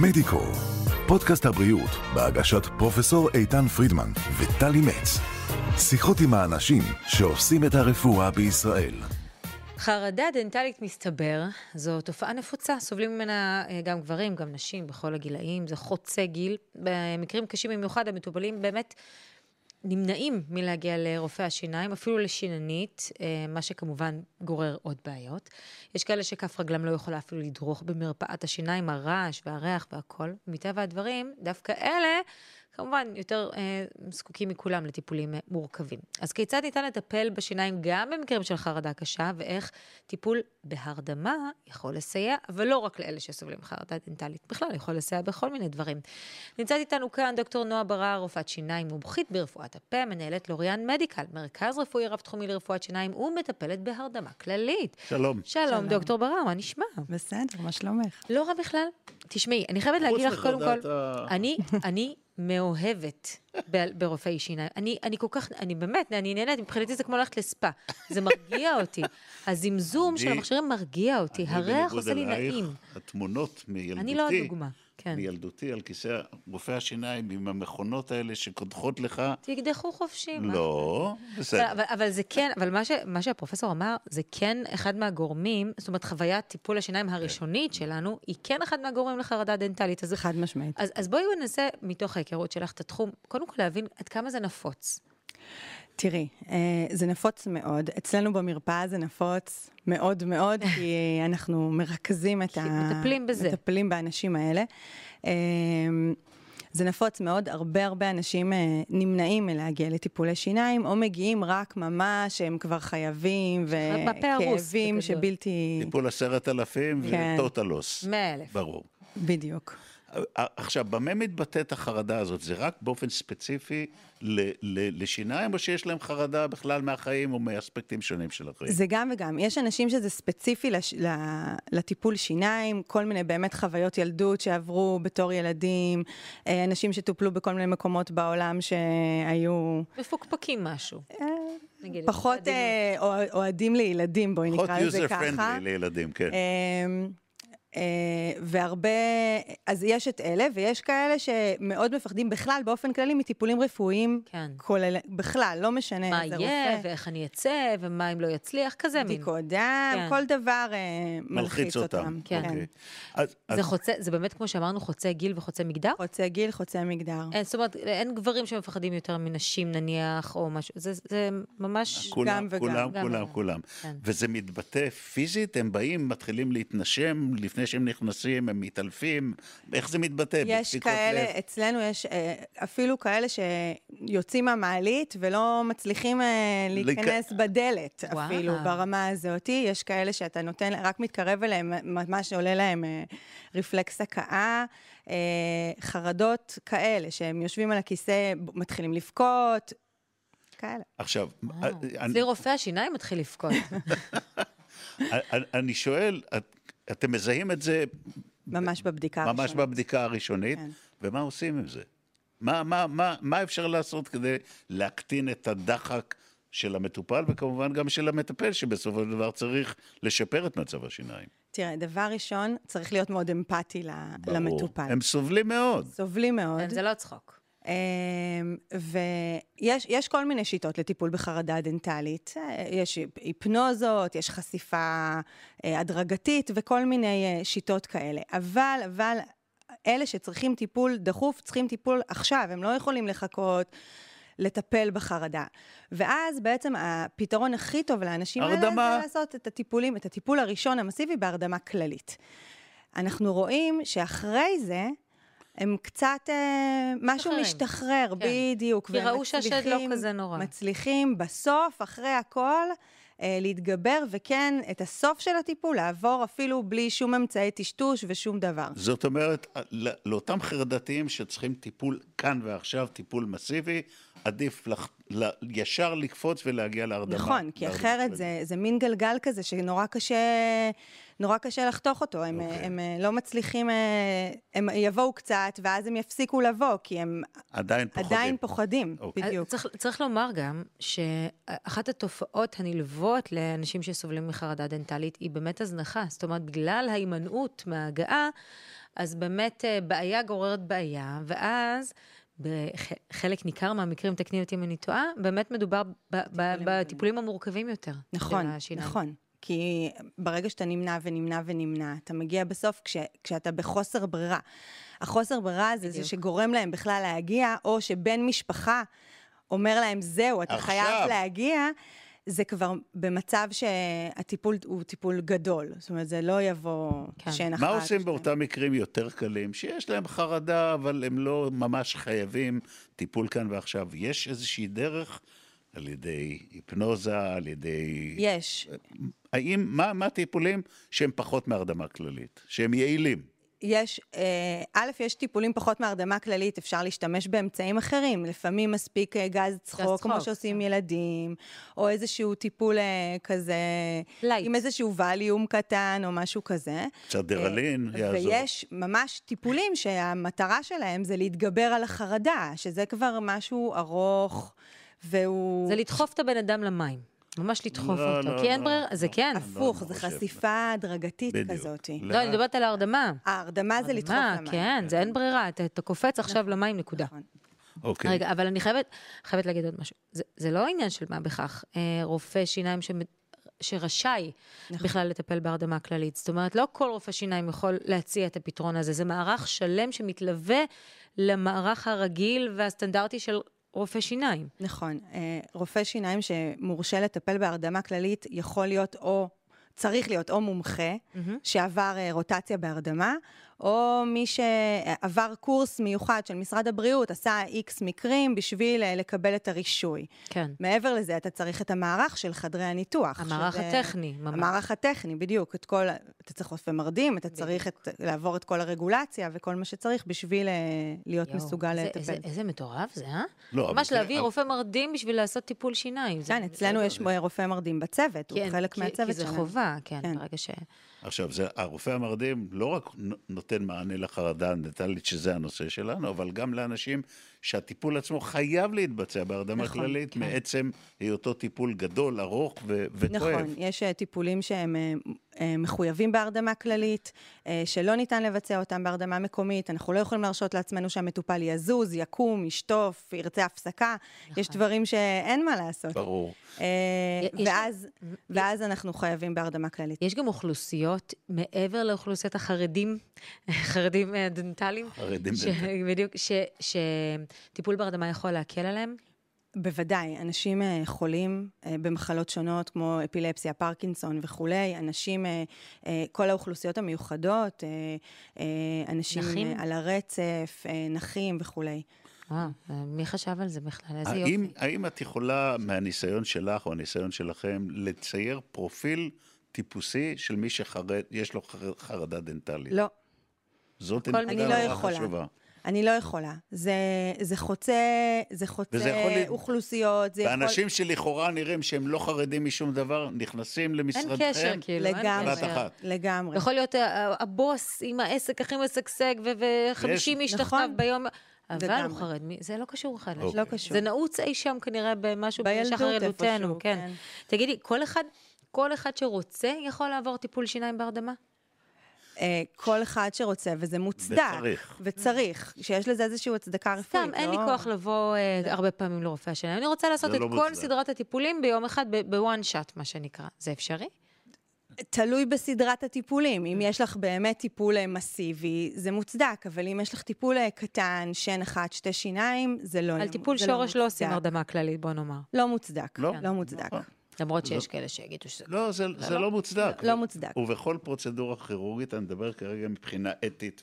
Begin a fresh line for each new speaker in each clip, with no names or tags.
מדיקו, פודקאסט הבריאות בהגשת פרופסור איתן פרידמן וטלי מצ. שיחות עם האנשים שעושים את הרפואה בישראל.
חרדה דנטלית מסתבר, זו תופעה נפוצה, סובלים ממנה אה, גם גברים, גם נשים, בכל הגילאים, זה חוצה גיל. במקרים קשים במיוחד, המטופלים באמת נמנעים מלהגיע לרופא השיניים, אפילו לשיננית, אה, מה שכמובן גורר עוד בעיות. יש כאלה שכף רגלם לא יכולה אפילו לדרוך במרפאת השיניים, הרעש והריח והכל. מטבע הדברים, דווקא אלה, כמובן, יותר אה, זקוקים מכולם לטיפולים אה, מורכבים. אז כיצד ניתן לטפל בשיניים גם במקרים של חרדה קשה, ואיך טיפול בהרדמה יכול לסייע, אבל לא רק לאלה שסובלים חרדה דנטלית, בכלל יכול לסייע בכל מיני דברים. נמצאת איתנו כאן דוקטור נועה ברר, רופאת שיניים מומחית ברפואת הפה, מנהלת לוריאן מדיקל, מרכז רפואי רב-תחומי לרפואת שיניים, ומטפלת בהרדמה כללית.
שלום.
שלום,
שלום.
דוקטור ברר, מה נשמע?
בסדר, מה שלומך?
לא רע בכלל. תשמעי, אני חייבת להגיד לך קודם כל... אני, אני מאוהבת ב- ברופאי שיניים. אני, אני כל כך, אני באמת, אני נהנית, מבחינתי זה כמו ללכת לספה. זה מרגיע אותי. הזמזום של
אני-
המכשירים מרגיע אותי, הריח
בניגוד
עושה לי
אלייך,
נעים.
התמונות מילדותי,
אני לא הדוגמה, כן.
מילדותי על כיסא רופא השיניים עם המכונות האלה שקודחות לך,
תקדחו חופשי. מה
לא,
אבל,
בסדר.
אבל, אבל זה כן, אבל מה, ש, מה שהפרופסור אמר, זה כן אחד מהגורמים, זאת אומרת, חוויית טיפול השיניים
כן.
הראשונית שלנו, היא כן אחד מהגורמים לחרדה דנטלית. אז,
חד משמעית.
אז, אז בואי ננסה, מתוך ההיכרות שלך את התחום, קודם כל להבין עד כמה זה נפוץ.
תראי, אה, זה נפוץ מאוד. אצלנו במרפאה זה נפוץ מאוד מאוד, כי אנחנו מרכזים את
כי
ה...
מטפלים בזה.
מטפלים באנשים האלה. אה, זה נפוץ מאוד, הרבה הרבה אנשים אה, נמנעים מלהגיע לטיפולי שיניים, או מגיעים רק ממש, הם כבר חייבים,
בפה הרוס,
וכאבים
בגדול.
שבלתי...
טיפול עשרת אלפים
כן.
וטוטלוס.
100,000.
ברור.
בדיוק.
עכשיו, במה מתבטאת החרדה הזאת? זה רק באופן ספציפי ל- ל- לשיניים, או שיש להם חרדה בכלל מהחיים או מאספקטים שונים של החיים?
זה גם וגם. יש אנשים שזה ספציפי לש... ל... לטיפול שיניים, כל מיני באמת חוויות ילדות שעברו בתור ילדים, אה, אנשים שטופלו בכל מיני מקומות בעולם שהיו
מפוקפקים משהו. נגיד,
אה, פחות
עדינות.
אה, אוה- אוהדים לילדים, בואי
פחות
נקרא לזה
user
ככה.
friendly לילדים, כן.
אמ, אה, והרבה, אז יש את אלה, ויש כאלה שמאוד מפחדים בכלל, באופן כללי, מטיפולים רפואיים.
כן.
כולל, בכלל, לא משנה
מה
איזה
יהיה,
רופא.
ואיך אני אצא, ומה אם לא יצליח, כזה מין.
בדיקות דם,
כן.
כל דבר אה, מלחיץ אותם.
כן.
אוקיי. אז- אז
זה חוצה, זה באמת, כמו שאמרנו, חוצה גיל וחוצה מגדר?
חוצה גיל, חוצה מגדר.
אין, זאת אומרת, אין גברים שמפחדים יותר מנשים נניח, או משהו, זה, זה ממש...
כולם,
וגם.
כולם,
גם
כולם,
וגם.
כולם.
כן.
וזה מתבטא פיזית, הם באים, מתחילים להתנשם, לפני שהם נכנסים, הם מתעלפים, איך זה מתבטא?
יש
בדפיקות
כאלה,
אה, לב?
אצלנו יש אה, אפילו כאלה שיוצאים מהמעלית ולא מצליחים אה,
לק-
להיכנס בדלת
וואו.
אפילו, ברמה הזאת. יש כאלה שאתה נותן, רק מתקרב אליהם, ממש עולה להם אה, רפלקס הקאה, אה, חרדות כאלה, שהם יושבים על הכיסא, ב- מתחילים לבכות, כאלה.
עכשיו,
אה,
אני-
אצלי רופא השיניים מתחיל לבכות.
אני- אני שואל, את- אתם מזהים את זה
ממש בבדיקה
ממש
הראשונה.
בבדיקה הראשונית,
כן.
ומה עושים עם זה? מה- מה- מה מה אפשר לעשות כדי להקטין את הדחק של המטופל, וכמובן גם של המטפל, שבסופו של דבר צריך לשפר את מצב השיניים.
תראה, דבר ראשון, צריך להיות מאוד אמפתי ל-
ברור.
למטופל.
הם סובלים מאוד.
סובלים מאוד.
כן, זה לא צחוק.
אמ, ויש יש כל מיני שיטות לטיפול בחרדה דנטלית. אה, יש היפנוזות, יש חשיפה אה, הדרגתית וכל מיני אה, שיטות כאלה. אבל, אבל אלה שצריכים טיפול דחוף, צריכים טיפול עכשיו, הם לא יכולים לחכות. לטפל בחרדה. ואז בעצם הפתרון הכי טוב לאנשים
הרדמה.
האלה זה לעשות את הטיפולים, את הטיפול הראשון המסיבי בהרדמה כללית. אנחנו רואים שאחרי זה, הם קצת, אה, משהו
משתחררים.
משתחרר,
כן.
בדיוק.
כי
והם
ראו שהשד לא
מצליחים-
כזה נורא.
מצליחים בסוף, אחרי הכל, אה, להתגבר, וכן, את הסוף של הטיפול לעבור אפילו בלי שום אמצעי טשטוש ושום דבר.
זאת אומרת, לא- לאותם חרדתיים שצריכים טיפול כאן ועכשיו, טיפול מסיבי, עדיף לח... ל... ישר לקפוץ ולהגיע להרדמה.
נכון, כי
להרדמה
אחרת
כללית.
זה, זה מין גלגל כזה שנורא קשה, נורא קשה לחתוך אותו. הם,
אוקיי.
okay. הם אה, לא מצליחים, אה, הם יבואו קצת, ואז הם יפסיקו לבוא, כי הם
עדיין פוחדים.
עדיין פוחדים,
אוקיי.
בדיוק.
אה, צריך, צריך לומר גם שאחת התופעות הנלוות לאנשים שסובלים מחרדה דנטלית היא באמת הזנחה. זאת אומרת, בגלל ההימנעות מההגעה, אז באמת אה, בעיה גוררת בעיה, ואז בחלק ניכר מהמקרים, תקני אותי אם אני טועה, באמת מדובר ב- ב- בטיפולים המורכבים יותר. של
נכון,
השיניים.
נכון. כי ברגע שאתה נמנע ונמנע ונמנע, אתה מגיע בסוף כש, כשאתה בחוסר ברירה. החוסר ברירה זה זה
בדיוק.
שגורם להם בכלל להגיע, או שבן משפחה אומר להם, זהו, אתה
עכשיו."
חייב להגיע, זה כבר במצב שהטיפול הוא טיפול גדול. זאת אומרת, זה לא יבוא
כן.
שן אחת.
מה עושים
שתיים.
באותם מקרים יותר קלים, שיש להם חרדה, אבל הם לא ממש חייבים טיפול כאן ועכשיו? יש איזושהי דרך על ידי היפנוזה, על ידי...
יש.
האם, מה, מה הטיפולים שהם פחות מהרדמה כללית? שהם יעילים?
יש, אה, א', יש טיפולים פחות מהרדמה כללית, אפשר להשתמש באמצעים אחרים. לפעמים מספיק אה, גז צחוק, כמו
צחוק,
שעושים
כן.
ילדים, או איזשהו טיפול אה, כזה,
לייט.
עם איזשהו ווליום קטן או משהו כזה.
קצת דרלין
אה,
יעזור.
ויש ממש טיפולים שהמטרה שלהם זה להתגבר על החרדה, שזה כבר משהו ארוך, והוא...
זה לדחוף את הבן אדם למים. ממש לדחוף
לא,
אותו.
לא,
כי אין
לא.
ברירה, זה כן.
הפוך,
לא,
זה
לא חושב.
חשיפה הדרגתית
בדיוק.
כזאת.
לא, אני מדברת על ההרדמה.
ההרדמה זה לדחוף
הרדמה,
למים.
כן, זה אין ברירה. אתה- אתה קופץ עכשיו למים, נקודה.
נכון.
אוקיי.
רגע, אבל אני חייבת, חייבת להגיד עוד משהו. זה, זה לא עניין של מה בכך. אה, רופא שיניים שמ, שרשאי נכון. בכלל לטפל בהרדמה כללית. זאת אומרת, לא כל רופא שיניים יכול להציע את הפתרון הזה. זה מערך שלם שמתלווה למערך הרגיל והסטנדרטי של רופא שיניים.
נכון. אה, רופא שיניים שמורשה לטפל בהרדמה כללית יכול להיות או, צריך להיות או מומחה שעבר אה, רוטציה בהרדמה, או מי שעבר קורס מיוחד של משרד הבריאות, עשה איקס מקרים בשביל אה, לקבל את הרישוי.
כן.
מעבר לזה, אתה צריך את המערך של חדרי הניתוח.
המערך הטכני, ממש.
אה, המערך הטכני, בדיוק. את כל, אתה צריך רופא מרדים, אתה צריך את, לעבור את כל הרגולציה וכל מה שצריך בשביל אה, להיות
יואו,
מסוגל
איזה-
לטפל.
איזה, איזה מטורף זה, אה?
לא, אבל
ממש
זה-
להביא
אבל-
רופא מרדים בשביל לעשות טיפול שיניים. זה-
כן, אצלנו יש רופא מרדים בצוות, הוא
כן,
חלק
כי-
מהצוות
כי זה
שלנו.
חובה, כן,
כן.
ברגע ש...
עכשיו, זה, הרופא המרדים לא רק נ- נותן מענה לחרדה הנטלית, שזה הנושא שלנו, אבל גם לאנשים שהטיפול עצמו חייב להתבצע בהרדמה
נכון,
כללית,
כן.
מעצם היותו טיפול גדול, ארוך ו- וכואב.
נכון, יש אה, טיפולים שהם אה, אה, מחויבים בהרדמה כללית, אה, שלא ניתן לבצע אותם בהרדמה מקומית, אנחנו לא יכולים להרשות לעצמנו שהמטופל יזוז, יקום, ישטוף, ירצה הפסקה,
נכון.
יש דברים שאין מה לעשות.
ברור.
אה,
יש- יש-
ואז- ואז אנחנו חייבים בהרדמה כללית.
יש גם אוכלוסיות מעבר לאוכלוסיית החרדים, חרדים אה, דנטליים,
חרדים
ש-
דנטליים.
בדיוק, שטיפול בהרדמה יכול להקל עליהם.
בוודאי, אנשים אה, חולים אה, במחלות שונות כמו אפילפסיה, פרקינסון וכולי, אנשים, אה, אה, כל האוכלוסיות המיוחדות, אה, אה, אנשים
נכים?
אה, על הרצף, אה, נכים וכולי.
וואו, אה, מי חשב על זה בכלל? איזה
האם,
יופי.
האם את יכולה, מהניסיון שלך או הניסיון שלכם, לצייר פרופיל טיפוסי של מי שיש לו חר- חרדה דנטלית?
לא,
זאת
כל
אני
נקודה
לא
נורא
יכולה. אני לא יכולה. זה, זה חוצה, זה
וזה
חוצה
יכול להיות-
אוכלוסיות, זה יכול...
ואנשים שלכאורה נראים שהם לא חרדים משום דבר, נכנסים
אין
למשרדכם.
קשר, כאילו, אין
לגמרי,
בבת אחת.
קשר.
לגמרי.
יכול להיות אה, אה, הבוס עם העסק הכי משגשג, ו-50 איש תחתיו
נכון.
ביום, אבל
לגמרי.
הוא חרד, מי- זה לא קשור אחד לשני.
אוקיי.
לא קשור.
זה נעוץ אי שם כנראה במשהו
בילדות
בשחר
איפשהו,
ילדותנו, כן.
כן.
תגידי, כל אחד, כל אחד שרוצה יכול לעבור טיפול שיניים בהרדמה?
אה, כל אחד שרוצה, וזה מוצדק.
וצריך.
וצריך, שיש לזה איזושהי הצדקה רפואית.
סתם, אין לי
לא-
כוח לבוא אה, הרבה פעמים לרופא השיניים. אני רוצה לעשות
זה
את
לא
כל
מוצדק.
סדרת הטיפולים ביום אחד, בוואן שאט, מה שנקרא. זה אפשרי?
תלוי בסדרת הטיפולים. אם יש לך באמת טיפול אה, מסיבי, זה מוצדק, אבל אם יש לך טיפול אה, קטן, שן אחת, שתי שיניים, זה לא
על
יהיה-
טיפול
זה
שורש לא עושים
מוצדק.
הרדמה כללית, בוא נאמר.
לא מוצדק.
לא?
לא מוצדק.
נכון.
למרות שיש כאלה שיגידו שזה...
לא, זה, זה לא מוצדק.
לא מוצדק.
ובכל פרוצדורה כירורגית, אני מדבר כרגע מבחינה אתית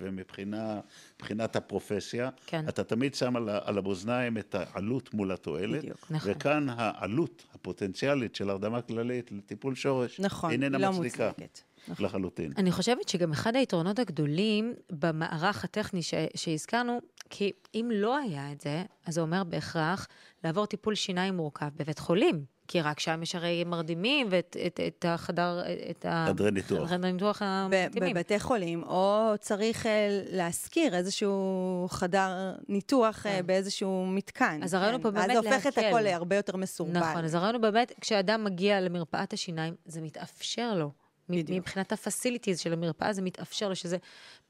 ומבחינת הפרופסיה,
כן.
אתה תמיד שם על, ה- על המאזניים את העלות מול התועלת.
בדיוק.
נכון.
וכאן העלות הפוטנציאלית של הרדמה כללית לטיפול שורש,
נכון,
איננה
לא
מצדיקה
מוצדקת.
לחלוטין.
אני חושבת שגם אחד היתרונות הגדולים במערך הטכני ש- שהזכרנו, כי אם לא היה את זה, אז זה אומר בהכרח לעבור טיפול שיניים מורכב בבית חולים. כי רק שם יש הרי מרדימים ואת את, את החדר, את ה-
חדרי ניתוח.
חדרי ניתוח
ב-
המתאימים.
בבתי חולים, או צריך אה, להשכיר איזשהו חדר ניתוח אה, באיזשהו מתקן.
כן. אז הרעיון הוא
כן,
פה באמת
ואז זה הופך את
להקל.
הכל להרבה יותר מסורבל.
נכון, אז הרעיון הוא באמת, כשאדם מגיע למרפאת השיניים, זה מתאפשר לו. מ-
בדיוק.
מבחינת הפסיליטיז של המרפאה, זה מתאפשר לו, שזה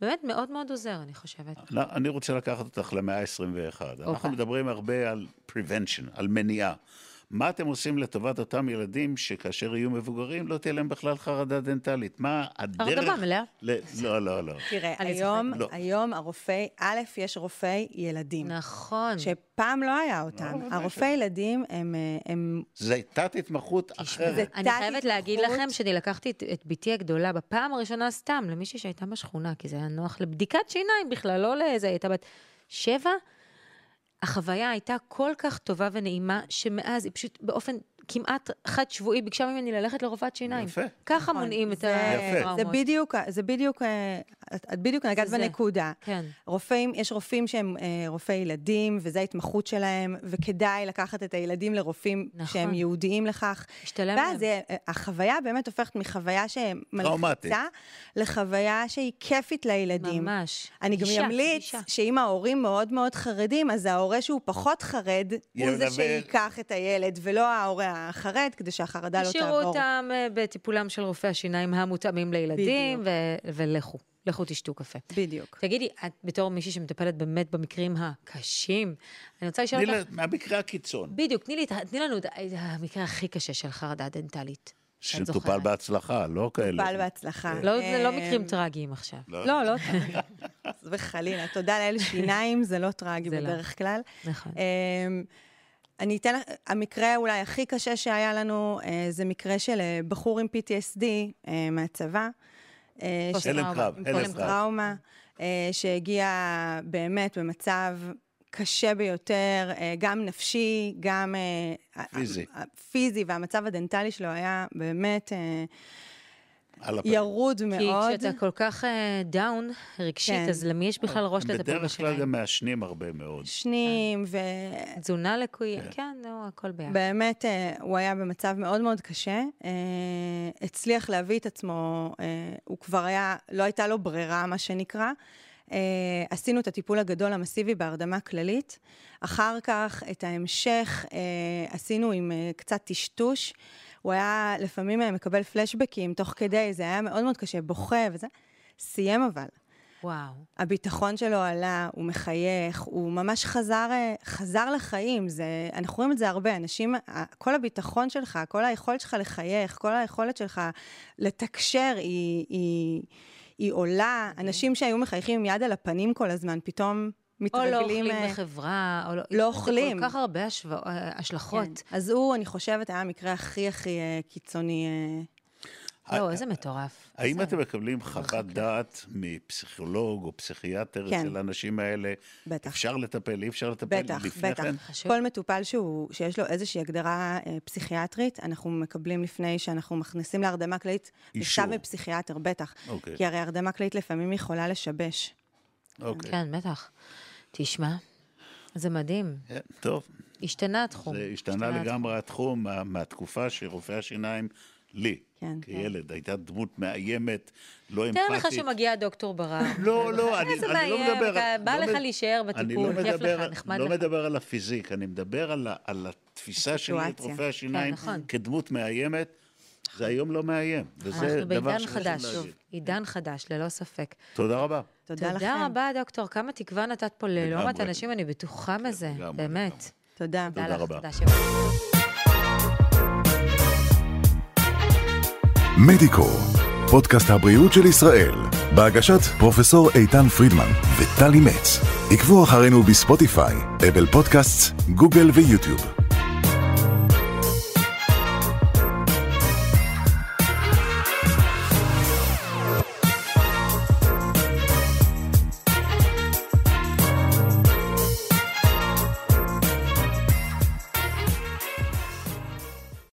באמת מאוד מאוד עוזר, אני חושבת.
לא, אני רוצה לקחת אותך למאה ה-21. אנחנו
אוקיי.
מדברים הרבה על prevention, על מניעה. מה אתם עושים לטובת אותם ילדים שכאשר יהיו מבוגרים לא תהיה להם בכלל חרדה דנטלית? מה הדרך...
הרדמה מלאה.
ל... לא, לא, לא.
תראה,
אני
היום,
צוחקת. לא.
היום הרופא, א', יש רופאי ילדים.
נכון.
שפעם לא היה אותם.
ודאי
הרופאי ילדים הם, אה, הם...
זו תת-התמחות
זה
אחרת.
אני חייבת
תת-התמחות.
להגיד לכם שאני לקחתי את, את בתי הגדולה בפעם הראשונה סתם, למישהי שהייתה בשכונה, כי זה היה נוח לבדיקת שיניים בכלל, לא לאיזה, הייתה בת שבע. החוויה הייתה כל כך טובה ונעימה, שמאז היא פשוט באופן כמעט חד-שבועי ביקשה ממני ללכת לרופאת שיניים.
יפה.
ככה
נכון,
מונעים את
זה-
הטראומות.
זה בדיוק, ה- זה בדיוק, אה, את את בדיוק נגעת
זה.
בנקודה.
כן.
רופאים, יש רופאים שהם אה, רופאי ילדים, וזו ההתמחות שלהם, וכדאי לקחת את הילדים לרופאים
נכון.
שהם ייעודיים לכך.
משתלם
ואז
להם.
אה, אה, החוויה באמת הופכת מחוויה
טראומטית.
שמלחיצה, לחוויה שהיא כיפית לילדים.
ממש.
אני גם
גישה,
אמליץ
גישה.
שאם ההורים מאוד מאוד חרדים, אז ההורה שהוא פחות חרד, הוא
ילווה-
זה שייקח את הילד, ולא ההורה החרד, כדי שהחרדה לא
תשאירו
תעבור.
אותם אה, בטיפולם של רופאי השיניים המותאמים לילדים, ו- ולכו, לכו תשתו קפה.
בדיוק.
תגידי, את בתור מישהי שמטפלת באמת במקרים הקשים, אני רוצה לשאול
תני
אותך...
לה- מהמקרה הקיצון,
בדיוק, תני, לי, את ה- תני לנו את ה- את המקרה הכי קשה של חרדה דנטלית. שאת
שטופל
זוכרת.
בהצלחה, לא כאלה.
פעל בהצלחה.
לא, זה לא
אמ,
מקרים טרגיים עכשיו.
אה, לא.
לא, לא טרגיים.
חס וחלילה, תודה לאל שיניים, זה לא טרגי
זה לא.
בדרך כלל.
נכון.
אה,
אמ, אני אתן לך, המקרה אולי הכי קשה שהיה לנו, אה, זה מקרה של אה, בחור עם PTSD אה, מהצבא. אה, ש-
פוסט-טראומה.
הלם קרב,
עם
הלם
פוסט-טראומה.
קרב.
טראומה, אה, שהגיע באמת במצב קשה ביותר, אה, גם נפשי, גם... אה,
פיזי.
ה- ה- פיזי, והמצב הדנטלי שלו היה באמת אה,
על הפנים.
ירוד
כי
מאוד.
כשאתה כל כך אה, דאון רגשית,
כן.
אז למי יש בכלל ראש לטפל
בדרך כלל
בשיניים?
גם מעשנים הרבה מאוד.
אה.
שנים, ו...
תזונה לקויה, כן, נו, הכל ביחד.
באמת, אה, הוא היה במצב מאוד מאוד קשה. אה, הצליח להביא את עצמו, אה, הוא כבר היה, לא הייתה לו ברירה, מה שנקרא. אה, עשינו את הטיפול הגדול המסיבי בהרדמה כללית. אחר כך, את ההמשך אה, עשינו עם אה, קצת טשטוש. הוא היה לפעמים אה, מקבל פלשבקים תוך כדי, זה היה מאוד מאוד קשה, בוכה וזה. סיים אבל.
וואו.
הביטחון שלו עלה, הוא מחייך, הוא ממש חזר, אה, חזר לחיים. זה, אנחנו רואים את זה הרבה, אנשים, ה- כל הביטחון שלך, כל היכולת שלך לחייך, כל היכולת שלך לתקשר, היא, היא, היא עולה.
כן.
אנשים שהיו מחייכים עם יד על הפנים כל הזמן, פתאום
או
מתרגלים...
לא אוכלים
אה,
בחברה, או לא...
לא אוכלים.
זה כל כך הרבה השו- אה, השלכות.
כן. אז הוא, אני חושבת, היה המקרה הכי הכי אה, קיצוני. אה,
לא, איזה מטורף.
כן. האם אתם מקבלים חוות דעת מפסיכולוג או פסיכיאטר
כן.
אצל האנשים האלה?
בטח.
אפשר לטפל, אי אפשר לטפל?
בטח,
לפני
בטח.
כן?
חשוב.
כל מטופל שהוא, שיש לו איזושהי הגדרה אה, פסיכיאטרית, אנחנו מקבלים לפני שאנחנו מכניסים להרדמה כללית,
אישור.
מכתב מפסיכיאטר, בטח.
אוקיי.
כי הרי הרדמה כללית לפעמים יכולה לשבש.
אוקיי.
כן, בטח. תשמע, זה מדהים.
כן, טוב,
השתנה התחום.
זה השתנה לגמרי התחום מה- מהתקופה שרופא השיניים, לי,
כן,
כילד, הייתה דמות מאיימת, לא
תאר לך
אמפתית.
שמגיע דוקטור ברר.
לא, לא, אני
איזה
אני לא
מאיים,
מדבר...
אתה- אה, בא
לא
לך
מד-
להישאר
אני
בטיפול,
לא
כיף
מדבר-
לך, נחמד
לא
לך.
מדבר על הפיזיק, אני מדבר על ה- על התפיסה שלי את
הסיטואציה.
רופא השיניים
נכון.
כדמות מאיימת. זה היום לא מאיים, וזה
אנחנו
דבר
בעידן
שצריך
חדש, שוב.
להגיד.
עידן חדש, ללא ספק.
תודה רבה.
תודה לכם.
תודה רבה, דוקטור. כמה תקווה נתת פה ללא מעט
לגמרי. כן,
אנשים, אני בטוחה מזה.
לגמרי,
באמת.
לגמרי.
תודה.
תודה לך,
רבה.
תודה שבאת.
מדיקו, פודקאסט הבריאות של ישראל, בהגשת פרופסור איתן פרידמן וטלי מצ. עקבו אחרינו בספוטיפיי, אבל פודקאסט, גוגל ויוטיוב.